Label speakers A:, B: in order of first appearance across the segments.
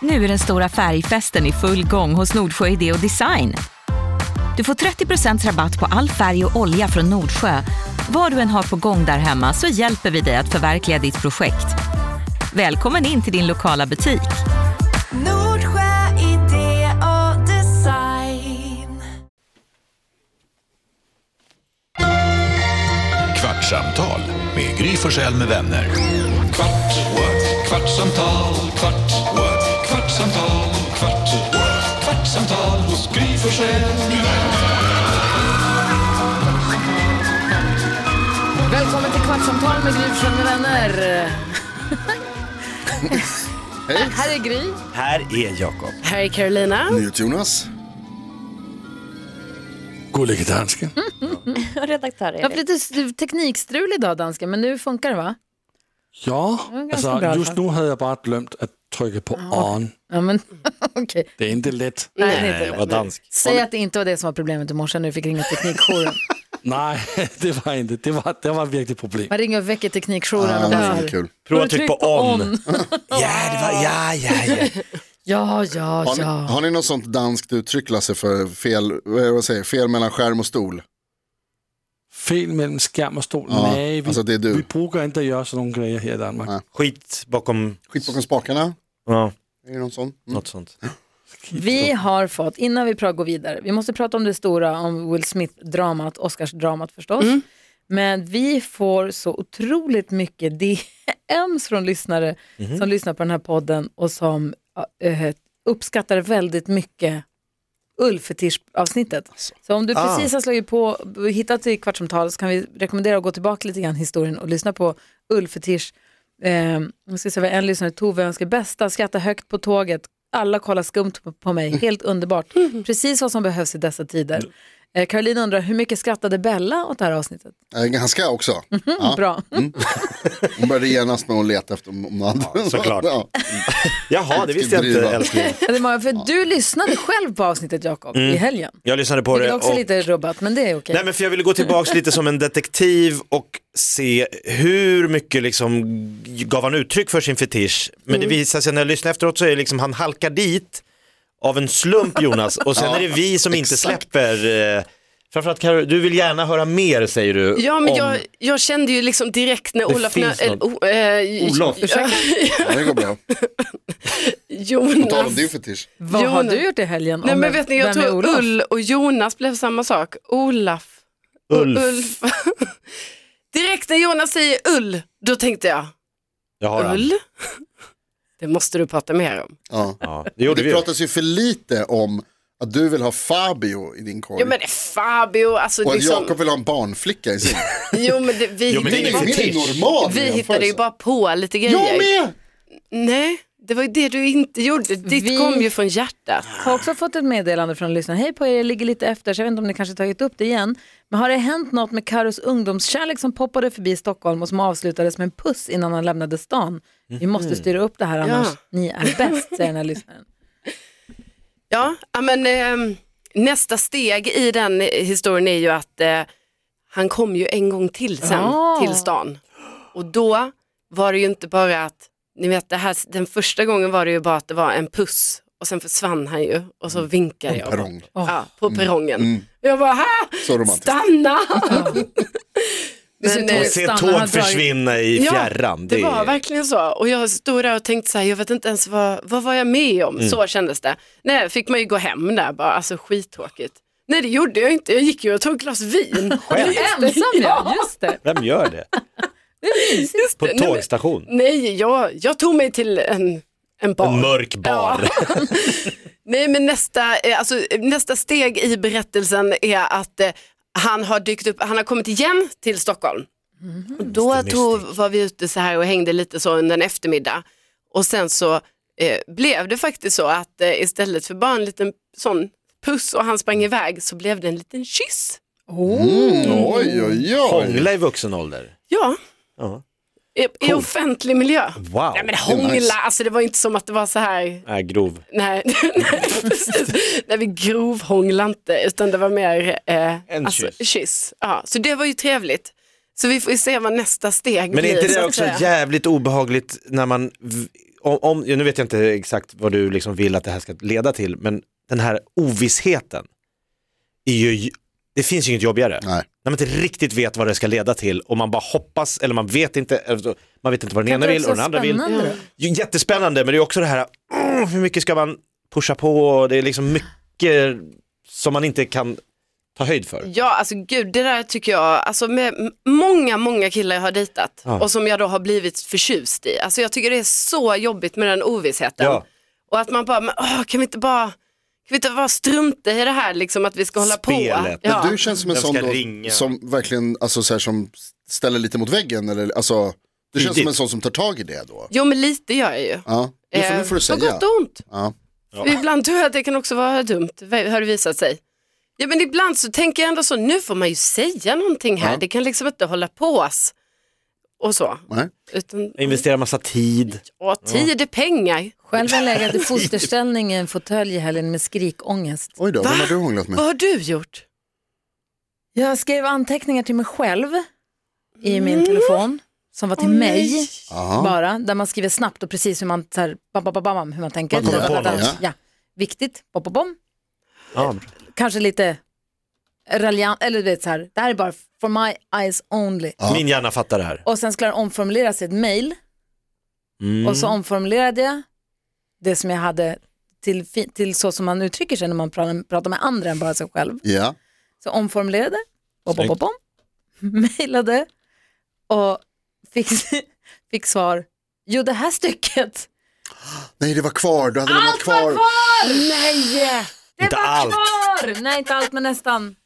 A: Nu är den stora färgfesten i full gång hos Nordsjö Idé och Design. Du får 30% rabatt på all färg och olja från Nordsjö. Vad du än har på gång där hemma så hjälper vi dig att förverkliga ditt projekt. Välkommen in till din lokala butik.
B: Nordsjö idé och design.
C: Kvartsamtal med Gry Forssell med vänner. Kvart, what? kvartsamtal, kvart, what? kvartsamtal, kvart, what? kvartsamtal hos Gry Forssell med vänner.
D: Välkommen till Kvartsamtal med Gry från med vänner. Här är Gry.
E: Här är Jakob.
D: Här är Carolina.
F: Jonas.
E: Gullige dansken.
F: Mm,
G: Redaktör
D: Jag
G: Erik.
D: har lite s- teknikstrul idag dansken, men nu funkar det va?
E: Ja,
D: ganska bra i alla
E: alltså just
D: fall.
E: nu hade jag bara glömt att trycka på on.
D: Ja, Ah, men okej.
E: Det är inte lätt.
D: Nej, det är inte lätt.
E: var dansk.
D: Säg att det inte var det som var problemet i morse när du fick ringa teknikjouren.
E: Nej, det var inte. Det var, det var ett verkligt problem.
D: Man ringer och väcker teknikjouren och
F: Ja, det är
D: bara...
F: kul.
D: Prova att trycka på on.
E: Ja, det var, ja, ja, ja.
D: Ja, ja,
F: Har ni,
D: Mm, ja.
F: har ni något sånt danskt uttryck Lasse för fel, eh, vad säger, jag, fel mellan skärm och stol?
E: Fel mellan skärm och stol.
F: Ja,
E: Nej, vi,
F: alltså det är du.
E: vi brukar inte göra sådana grejer här i Danmark.
F: Nej.
H: Skit bakom,
F: Skit bakom spakarna?
H: ja,
F: Är det någon sån? Mm.
H: något sånt.
D: Vi har fått, innan vi pra- går vidare, vi måste prata om det stora, om Will Smith-dramat, Oscars-dramat förstås.
F: Mm.
D: Men vi får så otroligt mycket DMs från lyssnare som lyssnar på den här podden och som eh, uppskattar väldigt mycket ullfetisch-avsnittet. Så om du precis har slagit på och hittat till Kvartsamtal så kan vi rekommendera att gå tillbaka lite grann i historien och lyssna på ullfetisch. Eh, jag ska säga, vad en lyssnare, Tove, önskar bästa, skratta högt på tåget, alla kollar skumt på- på mig, helt underbart. Precis vad som behövs i dessa tider. Eh, Caroline undrar, hur mycket skrattade Bella åt det här avsnittet?
F: Eh, Ganska också. Ja.
D: Bra.
F: Hon började genast med att leta efter om om något annat.
H: såklart.
F: Ja.
H: Jaha, det visste jag
F: driva.
H: inte älskling.
D: Ja, det är många- För du lyssnade själv på avsnittet Jakob i helgen.
H: Jag lyssnade på
D: Det
H: det
D: är också
H: och...
D: lite rubbat, men det är okej.
H: Nej men för jag ville gå tillbaks lite som en detektiv och se hur mycket liksom gav han uttryck för sin fetisch. Men
I: Mm.
H: det visar sig när jag lyssnar efteråt så är det liksom han halkar dit av en slump Jonas och sen är det vi som inte släpper. Eh, framförallt Karo, du vill gärna höra mer säger du.
I: Ja, men
H: om-
I: jag, jag kände ju liksom direkt när
H: Det
I: Olof...
H: finns
I: när,
H: något.
I: eh, o- eh,
H: Olof,
I: ja,
F: Ja, det går bra. På tal
I: Jonas.
F: om din fetisch.
D: Vad har
I: Jonas.
D: du gjort i helgen?
I: Nej,
D: Om
I: men
D: vem-
I: vet ni, jag
D: vem är
I: tror
D: Olof?
I: Ull och Jonas blev samma sak. Olaf och
H: Ulf.
I: Ulf. direkt när Jonas säger ull, då tänkte jag,
H: Jag har han.
I: ull? Det måste du prata mer om.
F: Ja.
H: Ja, det gjorde vi
F: Det
H: ju.
F: pratas ju för lite om att du vill ha Fabio i din korg.
I: Jo men det är Fabio, alltså
F: Och att
I: liksom,
F: Jakob vill ha en barnflicka i sin.
I: jo men det, vi,
H: Jo, men
F: Det
I: hittade
F: är ingen det
I: ju bara-
F: är ingen normal
I: vi hittade ju
F: jämförelse.
I: bara på lite grejer.
F: Jag med!
I: Nej, det var ju det du inte gjorde. Ditt
D: Vi-
I: kom ju från hjärtat.
D: Har också fått ett meddelande från lyssnaren. Hej på er, jag ligger lite efter så jag vet inte om ni kanske tagit upp det igen. Men har det hänt något med Karos ungdomskärlek som poppade förbi Stockholm och som avslutades med en puss innan han lämnade stan? Vi måste styra upp det här annars,
I: Ja.
D: ni är bäst, säger den här lyssnaren.
I: Ja, ja, men ehm, nästa steg i den historien är ju att eh, han kom ju en gång till sen
D: Ja.
I: till stan. Och då var det ju inte bara att, ni vet det här, den första gången var det ju bara att det var en puss och sen försvann han ju och
F: Mm.
I: så vinkade jag.
F: Perrong.
I: Ja, på perrongen. Jag bara, här,
F: Mm. Så romantiskt.
I: stanna!
D: Dessutom
I: eh,
H: Och
D: Stanna,
H: se
D: han har
H: tåg
D: dragit-
H: försvinna i fjärran.
I: det var verkligen så. Och jag stod där och tänkte så här, jag vet inte ens vad, vad var jag med om?
H: Mm.
I: Så kändes det. Nej, fick man ju gå hem där bara, alltså skittråkigt. Nej det gjorde jag inte, jag gick ju och tog ett glas vin.
H: Själv.
D: Ensam ja, just det.
H: Vem gör det?
I: Just
H: På
I: det.
H: tågstation?
I: Nej, nej jag, jag tog mig till en, en bar.
H: En mörk bar.
I: Nej men nästa, eh, alltså, eh, nästa steg i berättelsen är att eh, han har dykt upp, han har kommit igen till Stockholm. Och då
H: Mr.
I: tog,
H: Mystic.
I: var vi ute så här och hängde lite så under en eftermiddag och sen så eh, blev det faktiskt så att eh, istället för bara en liten sån puss och han sprang iväg så blev det en liten kyss.
F: Mm, oj, oj, oj.
H: Hångla i vuxen ålder.
I: Ja,
H: Ja.
I: i, i offentlig miljö.
H: Wow.
I: Nej men hångla,
F: nice.
I: alltså det var inte som att det var så här
H: Äh, grov.
I: Nej, nej, precis. nej vi grovhånglade inte utan det var mer eh,
H: En
I: alltså,
H: kyss.
I: kyss. Ja, så det var ju trevligt. Så vi får ju se vad nästa steg
H: Men
I: blir.
H: är inte
I: så
H: det
I: att
H: också
I: säga.
H: jävligt obehagligt när man v- om, om, nu vet jag inte exakt vad du liksom vill att det här ska leda till, men den här ovissheten, är ju, det finns ju inget jobbigare.
F: Nej.
H: När man inte riktigt vet vad det ska leda till och man bara hoppas, eller man vet inte, eller så- man vet inte vad den ena vill och den andra vill.
D: Spännande.
H: Ju- Jättespännande, men det är också det här, mm, hur mycket ska man pusha på? Och Det är liksom mycket som man inte kan ta höjd för.
I: Ja, alltså gud, det där tycker jag, alltså med m- många, många killar jag har dejtat
H: Ja.
I: och som jag då har blivit förtjust i. Alltså jag tycker det är så jobbigt med den ovissheten.
H: Ja.
I: Och att man bara, men, åh, kan vi inte bara, kan vi inte bara strunta i det här liksom att vi ska hålla
H: Spelet.
I: på. Ja.
F: Men du känns som en
H: Vem
F: sån
H: ska
F: då,
H: ringa?
F: som verkligen alltså, så här, som ställer lite mot väggen. Eller, alltså, du känns
H: Tidigt.
F: som en sån som tar tag i det då.
I: Jo, men lite gör jag ju.
F: Ja, nu får, nu får du
I: Eh, på
F: säga.
I: gott och ont.
F: Ja.
I: Ibland tror jag att det kan också vara dumt, har det visat sig. Ja men ibland så tänker jag ändå så, nu får man ju säga någonting här, det kan liksom inte hålla pås. Och så.
F: Nej.
I: Utan,
H: Investera massa tid.
I: ja, tid är pengar.
D: Själv har jag legat i fosterställning i en fåtölj i helgen med skrikångest.
F: Oj då, vem har du hånglat med?
I: Vad har du gjort?
D: Jag skrev anteckningar till mig själv i min telefon som var till mig
F: Aha.
D: bara, där man skriver snabbt och precis hur man, så här, bam, bam, bam, bam, hur man tänker.
F: Man kommer
H: på
D: Ja.
F: något.
D: Ja. Viktigt, bom, bom, bom.
H: Ja.
D: kanske lite raljant, eller du vet så här, det här är bara for my eyes only.
H: Min hjärna fattar det här.
D: Och sen skulle han omformulera sitt mail
H: Mm.
D: och så omformulerade jag det som jag hade till, fi- till så som man uttrycker sig när man pratar, pratar med andra än bara sig själv.
F: Ja,
D: Så omformulerade, bom, bom, bom, bom, mailade och fick, fick svar, jo det här stycket,
F: nej det var kvar, du hade lämnat kvar.
D: nej! Det
H: Inte
D: var
H: allt.
D: kvar! Nej inte allt men nästan.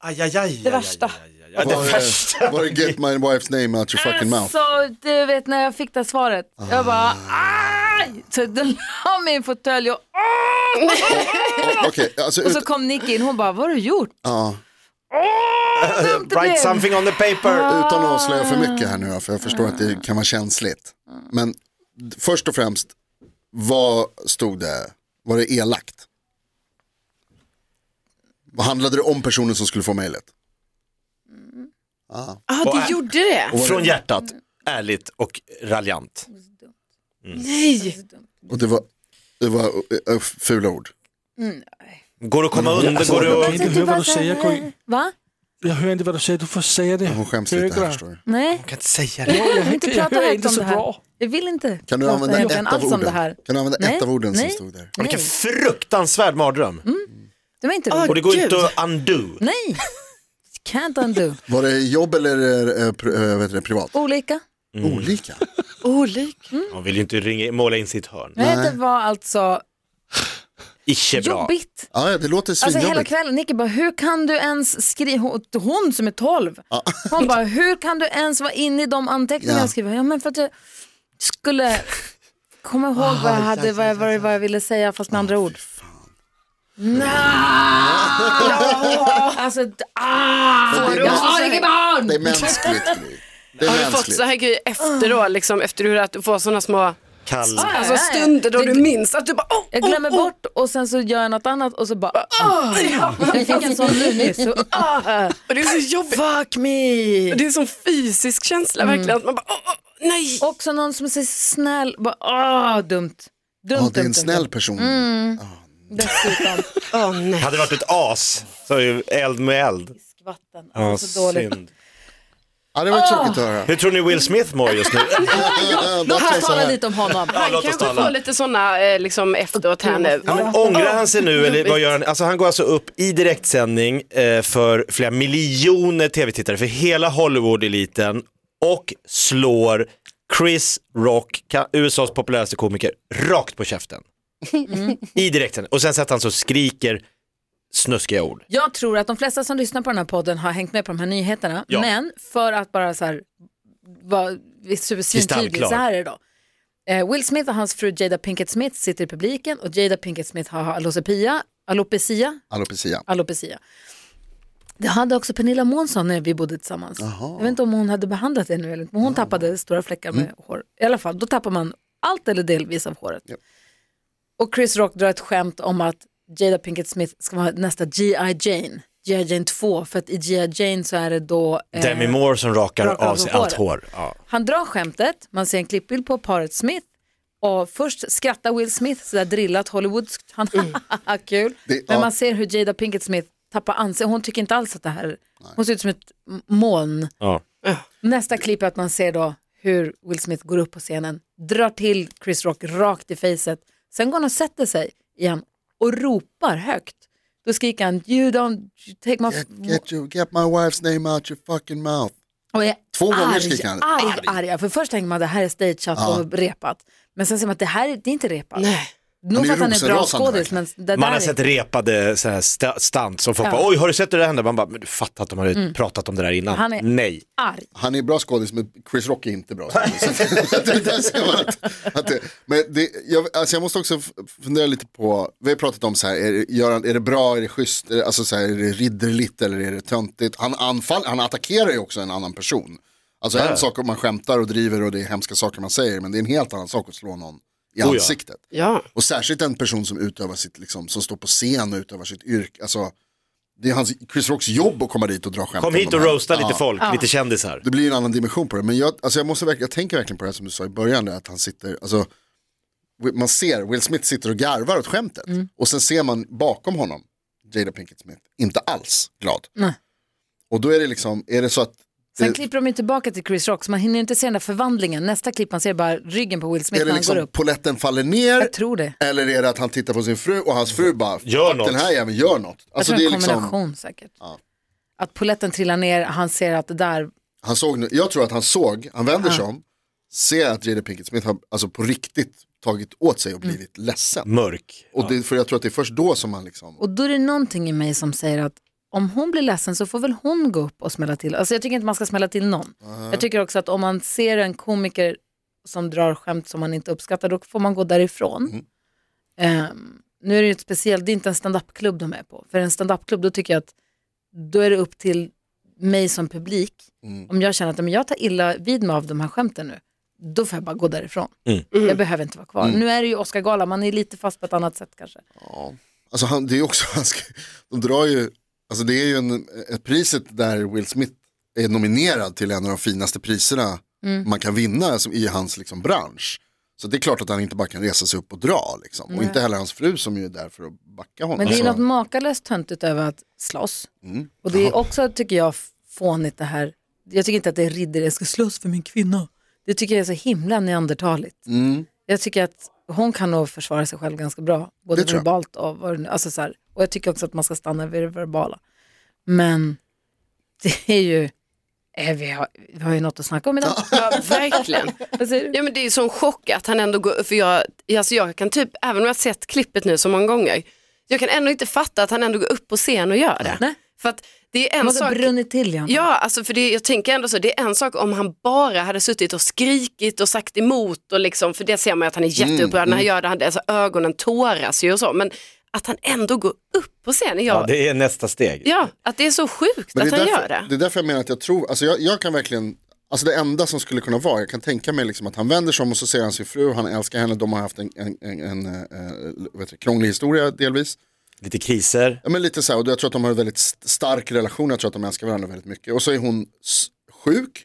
H: Aj, aj, aj, det
D: värsta.
H: Ja, det
F: Var det-
H: värsta.
F: Var det get my wife's name out your fucking mouth?
D: Alltså, du vet när jag fick det svaret. Jag bara,
F: Ah.
D: aj! Så den la mig i en fåtölj och,
F: Okej, alltså
D: och
F: ut,
D: så kom Nicky in. Hon bara, vad har du gjort?
F: ja,
D: Dumt det blev.
H: Write something on the paper.
F: utan att avslöja
D: Ah.
F: för mycket här nu för jag förstår att det kan vara känsligt. Men d- först och främst, vad stod det? Var det elakt? Vad handlade det om personen som skulle få mejlet?
I: Ja, ah, det gjorde det.
H: Från hjärtat, ärligt och raljant.
I: Nej.
F: Och det var, det var ö, ö, fula ord.
H: Går det att komma under, går det
E: Jag kan
D: Alltså,
H: att...
E: inte höra vad du säger. Jag, kan-
D: Va?
E: jag hör inte vad du säger. Du får säga det
F: Hon skäms lite här
E: högre.
F: förstår du.
D: Nej,
H: Jag kan inte säga
D: jag
H: det.
D: vill inte
E: jag
D: prata
E: hör
D: högt
E: inte
D: om
E: så
D: det här.
E: bra.
D: Jag vill inte
F: Kan du
D: prata
F: använda
D: egentligen
F: ett av
D: alls om det
F: orden?
D: här.
F: Kan du använda
D: Nej,
F: ett av orden som
D: nej.
F: stod där?
D: Nej,
H: Vilken fruktansvärd mardröm.
D: Mm, det var inte
I: Ah,
D: roligt.
H: Och det går
I: Gud.
H: inte att undo.
D: Nej, can't undo.
F: Var det jobb eller eh, pri- eh, vet du, det, privat?
D: Olika.
F: Olika.
I: Olik.
H: Hon vill ju inte ringa, måla in sitt hörn.
D: Nej, det var alltså
H: Icke bra.
D: jobbigt.
F: Ja, ja, det låter
D: Alltså
F: svinjobbigt.
D: hela kvällen, Nicky bara, hur kan du ens skriva, hon, hon som är 12, hon bara, hur kan du ens vara inne i de anteckningar
F: Ja.
D: jag skriver? Ja men för att jag skulle komma ihåg vad jag hade, vad jag, vad jag, vad jag ville säga fast med andra ord. Nej! alltså, d- ah!
F: Men det är mänskligt.
D: Ariga barn!
F: Det är mänskligt. Gry. Det
I: Har
F: är
I: du fått
F: mänskligt.
I: så här grejer efter då, liksom, efter du att du får sådana små
H: Kall.
I: alltså, stunder då du minns att du bara, oh,
D: Jag glömmer bort och sen så gör jag något annat och så bara, ah! jag fick en sån
I: Alltså,
D: nu nyss. Så, ah.
I: Och det är så jobbigt.
D: Fuck me!
I: Det är en sån fysisk känsla
F: Mm.
I: verkligen, att man bara, oh, oh, nej.
D: Också någon som säger snäll, bara ah, dumt. Dumt,
F: Ja, det är
D: dumt, Mm.
F: en snäll person.
D: dumt. Dessutom,
I: Åh, nej.
H: Hade det varit ett as så är ju eld med eld.
D: skvatten.
H: Ja,
D: Alltså, så dåligt.
H: synd.
F: Ja, det var tråkigt att höra.
H: Hur tror ni Will Smith mår just nu?
F: Låt
D: Ah. Låt oss tala lite om honom.
H: Ja,
I: Han
H: låt oss
I: kanske får
H: tala.
I: lite sådana eh, liksom, efteråt här nu.
H: Ja, men ångrar han sig nu eller vad gör han? Alltså han går alltså upp i direktsändning eh, för flera miljoner tv-tittare för hela Hollywood-eliten och slår Chris Rock, ka- USAs populäraste komiker, rakt på käften.
D: Mm.
H: I direktsändning. Och sen sätter han så och skriker snuskiga ord.
D: Jag tror att de flesta som lyssnar på den här podden har hängt med på de här nyheterna.
H: Ja.
D: Men för att bara så här vara supersvintydlig,
H: Kristallklar.
D: så här är det då. Eh, Will Smith och hans fru Jada Pinkett Smith sitter i publiken och Jada Pinkett Smith har alopecia, alopecia,
F: Alopecia.
D: alopecia. Det hade också Pernilla Månsson när vi bodde tillsammans. Jag vet inte om hon hade behandlat det nu eller inte, men hon tappade stora fläckar med hår. I alla fall, då tappar man allt eller delvis av håret. Och Chris Rock drar ett skämt om att Jada Pinkett Smith ska vara nästa G.I. Jane, G.I. Jane 2, för att i G.I. Jane så är det då... eh,
H: Demi Moore som rakar
D: rakar
H: av
D: av
H: sig
D: håret.
H: allt hår. Ja.
D: han drar skämtet, man ser en klippbild på paret Smith Och först skrattar Will Smith, sådär drillat Hollywoodskt, han kul.
F: Det-
D: Men
F: ja.
D: man ser hur Jada Pinkett Smith tappar ansiktet, hon tycker inte alls att det här, hon ser ut som ett m- moln.
H: Ja.
D: Nästa klipp är att man ser då hur Will Smith går upp på scenen, drar till Chris Rock rakt i facet. Sen går han och sätter sig igen och ropar högt. Då skriker han you don't take my...
F: Get, get, you, get my wife's name out your fucking mouth.
D: och är
F: Två gånger
D: arg,
F: skriker han.
D: Arg, arg, För först tänker man att det här är stageat och repat. Men sen ser man att det här är- det är inte repat.
I: Nej.
D: Nog
F: Han är
D: för att han är en bra
F: rosenrasande
D: skådis men det
H: Man
D: där
H: har
D: är...
H: sett repade så här sta- stunt som folk
D: Ja. Mm.
H: bara, oj har du sett hur det hände? Man bara, men du fattar att de har pratat om det där innan.
D: Han är-
H: Nej.
D: arg.
F: Han är bra skådis men Chris Rock är inte bra skådis. det där ser man att, att det, men det, jag, alltså jag måste också f- fundera lite på, vi har pratat om så här, är, det- gör han, är det bra, är det schysst, är det, alltså så här, är det ridderligt eller är det töntigt? Han, anfall, han attackerar ju också en annan person. Alltså en sak om man skämtar och driver och det är hemska saker man säger men det är en helt annan sak att slå någon i
H: ja.
F: ansiktet.
I: Ja.
F: Och särskilt en person som utövar sitt, liksom, som står på scen och utövar sitt yrke. Alltså, det är hans, Chris Rocks jobb att komma dit och dra skämt. om
H: Kom hit
F: de
H: och
F: här.
H: roasta
F: Ja.
H: lite folk, lite kändisar.
F: Det blir en annan dimension på det. Men jag, alltså jag, måste verkligen, jag tänker verkligen på det här som du sa i början, där, att han sitter, alltså, man ser Will Smith sitter och garvar åt skämtet.
D: Mm.
F: Och sen ser man bakom honom, Jada Pinkett Smith, inte alls glad.
D: Nej.
F: Och då är det liksom, är det så att,
D: Sen
F: det-
D: klipper de ju tillbaka till Chris Rock så man hinner ju inte se den där förvandlingen. Nästa klipp man ser bara ryggen på Will Smith
F: är
D: när
F: det
D: han går
F: liksom
D: upp.
F: poletten faller ner?
D: Jag tror det.
F: Eller är det att han tittar på sin fru och hans fru bara,
H: Gör
F: "Fuck,
H: något."
F: den här jäveln gör något. Alltså,
D: jag
F: det
D: tror
F: är
D: en
F: liksom,
D: kombination säkert. Att poletten trillar ner, han ser att det där,
F: han såg, nu- jag tror att han såg, han vänder sig om, ser att Jada Pinkett Smith har alltså, på riktigt tagit åt sig och
D: Mm.
F: blivit ledsen.
H: Mörk.
F: Och det, för jag tror att det är först då som man liksom,
D: och då är det någonting i mig som säger att om hon blir ledsen så får väl hon gå upp och smälla till. Alltså jag tycker inte man ska smälla till någon. Jag tycker också att om man ser en komiker som drar skämt som man inte uppskattar, då får man gå därifrån. Ehm, nu är det ju ett speciellt, det är inte en standupklubb de är på. För en standupklubb, då tycker jag att då är det upp till mig som publik. Om jag känner att men jag tar illa vid mig av de här skämten nu, då får jag bara gå därifrån. Jag behöver inte vara kvar. Nu är det ju Oscar-gala, man är lite fast på ett annat sätt kanske.
F: alltså han, det är också, han ska, de drar ju, alltså det är ju en, ett priset där Will Smith är nominerad till en av de finaste priserna
D: Mm.
F: man kan vinna alltså, i hans liksom, bransch. Så det är klart att han inte bara kan resa sig upp och dra. Liksom. Och inte heller hans fru som ju är där för att backa honom.
D: Men det är ju
F: Så-
D: något makalöst töntigt över att slåss.
F: Mm.
D: Och det är också, tycker jag, fånigt det här. Jag tycker inte att det är ridder, jag ska slåss för min kvinna. Det tycker jag är så himla neandertaligt.
F: Mm.
D: Jag tycker att hon kan nog försvara sig själv ganska bra. Både
F: Det tror jag.
D: verbalt och vad det nu- alltså så här. Och jag tycker också att man ska stanna vid det verbala. Men det är ju, eh, vi, har, vi har ju något att snacka om idag.
I: ja, verkligen.
D: Vad säger du?
I: Ja, men det är ju sån chock att han ändå går, för jag, alltså jag kan typ, även om jag har sett klippet nu så många gånger, jag kan ändå inte fatta att han ändå går upp på scen och gör det.
D: Nej.
I: För att det är
D: Det
I: en
D: måste ha
I: sak,
D: brunnit till igen.
I: ja alltså för det, jag tänker ändå så, det är en sak om han bara hade suttit och skrikit och sagt emot och liksom, för det ser man ju att han är
H: Mm,
I: jätteupprörd när han gör det, han, alltså, ögonen tåras ju och så, men att han ändå går upp på scen,
H: Ja,
I: jag, ja,
H: det är nästa steg.
I: att det är så sjukt
F: Men
I: att
F: det, är
I: han
F: därför,
I: gör det.
F: det är därför jag menar att jag tror, alltså jag, jag kan verkligen, alltså det enda som skulle kunna vara, jag kan tänka mig liksom att han vänder sig om och så ser han sin fru, han älskar henne, de har haft en, en, en, en eh, vet du, krånglig historia delvis.
H: Lite kriser.
F: Ja, men lite så här, och jag tror att de har en väldigt st- stark relation, jag tror att de älskar varandra väldigt mycket. Och så är hon s- sjuk,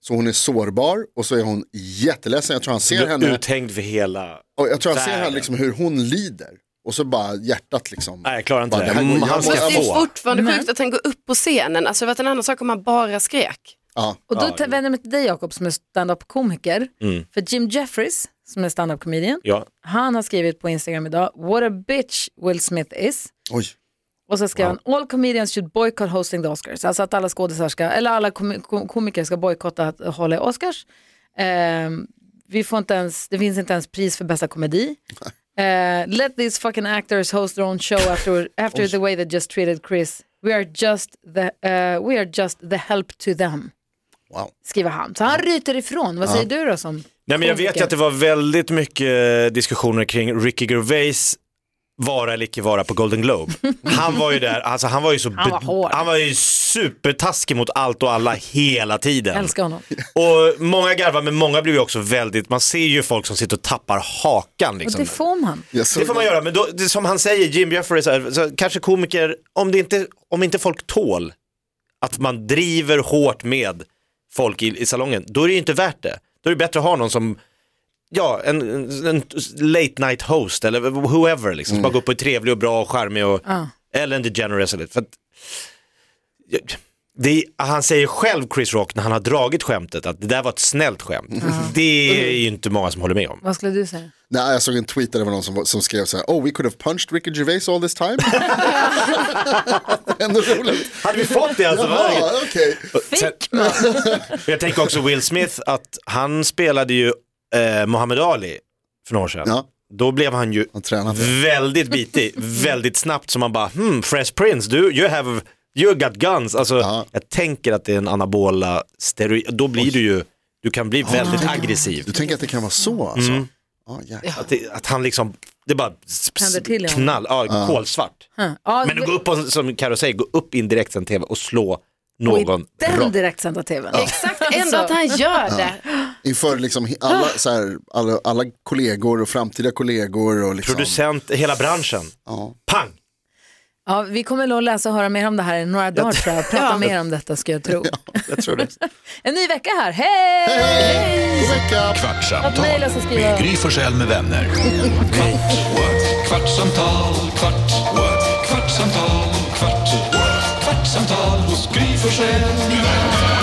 F: så hon är sårbar och så är hon jätteledsen, jag tror han ser henne,
H: Uthängd för hela...
F: och jag tror han ser henne
H: världen.
F: liksom hur hon lider. Och så bara hjärtat liksom.
H: Nej, jag klarar inte
F: Bara,
H: det.
F: här går-
H: Mm,
F: jag
H: han ska
F: måste-
I: Men det är
H: få.
I: fortfarande sjukt att han går upp på scenen, alltså det hade varit en annan sak om han bara skrek.
F: Ja.
D: Och då ja, vänder jag mig till dig Jakob som är stand-up-komiker. För Jim Jeffries som är stand-up-comedian,
H: Ja.
D: han har skrivit på Instagram idag, what a bitch Will Smith is.
F: Oj.
D: Och så skrev han, all comedians should boycott hosting the Oscars. Alltså att alla skådisar ska, eller alla kom kom- komiker ska bojkotta att hålla i Oscars. Ehm, vi får inte ens, det finns inte ens pris för bästa komedi. Eh, let these fucking actors host their own show after, after the way they just treated Chris. We are just the, eh, we are just the help to them
F: Wow.
D: skriver han. Så han ryter ifrån. Vad säger du då som
H: Nej, men jag vet ju att det var väldigt mycket eh, diskussioner kring Ricky Gervais vara eller icke vara på Golden Globe. Han var ju där, alltså han var ju så,
D: Han var
H: be-
D: hård.
H: han var ju supertaskig mot allt och alla hela tiden.
D: Älskar honom.
H: Och många garvar, men många blir ju också väldigt, man ser ju folk som sitter och tappar hakan
D: Och
H: liksom.
D: det får man.
F: Jag såg-
H: Det får man göra, men då, det, som han säger, Jim Jefferies, är- så kanske komiker, om, det inte, om inte folk tål att man driver hårt med folk i, i salongen, då är det ju inte värt det. Då är det bättre att ha någon som ja, en, en, en late night host eller whoever liksom, som bara går upp och är trevlig och bra och charmig och, eller en DeGeneres eller för att, det är, han säger själv Chris Rock när han har dragit skämtet att det där var ett snällt skämt. Det är ju inte många som håller med om.
D: Vad skulle du säga?
F: Nej, jag såg en tweet där det var någon som, som skrev så här, oh we could have punched Ricky Gervais all this time. Ändå roligt.
H: Hade vi fått det alltså? vad är det?
F: Jaha, okej.
H: Sen, jag tänker också Will Smith, att han spelade ju eh, Muhammad Ali för några år sedan.
F: Ja. Mm.
H: Då blev han ju
F: Han tränade.
H: väldigt bitig, väldigt snabbt som man bara, hmm, Fresh Prince, du, you have, you got guns. Alltså,
F: Ja.
H: Jag tänker att det är en anabola steroid, då blir du ju, du kan bli väldigt aggressiv.
F: Du tänker att det kan vara så alltså?
H: Mm.
F: Ja, jäklar.
H: Att, det, att han liksom, det bara s- s-
D: Tänder till i honom.
H: knall, ja, kolsvart.
D: Ja,
H: Men gå upp, och, som Karo säger, gå upp i en direktsänd-tv och slå någon.
D: Den
H: rakt.
D: direktsända tvn.
I: Exakt, ändå att han gör det.
F: Inför liksom he- alla, så här, alla, alla kollegor och framtida kollegor och liksom.
H: Producent, hela branschen.
F: Ja.
H: Pang!
D: Ja, vi kommer nog läsa och höra mer om det här i några dagar tror jag. Prata mer om detta ska jag tro.
H: Jag tror det.
D: En ny vecka här, hej!
F: Hej! God vecka!
D: Att
C: Kvartsamtal
D: mejla så skriver jag.
C: med Gry Forssell med vänner. Kvart, what? kvartsamtal, kvart, what? kvartsamtal, kvart, what? kvartsamtal hos Gry Forssell med vänner.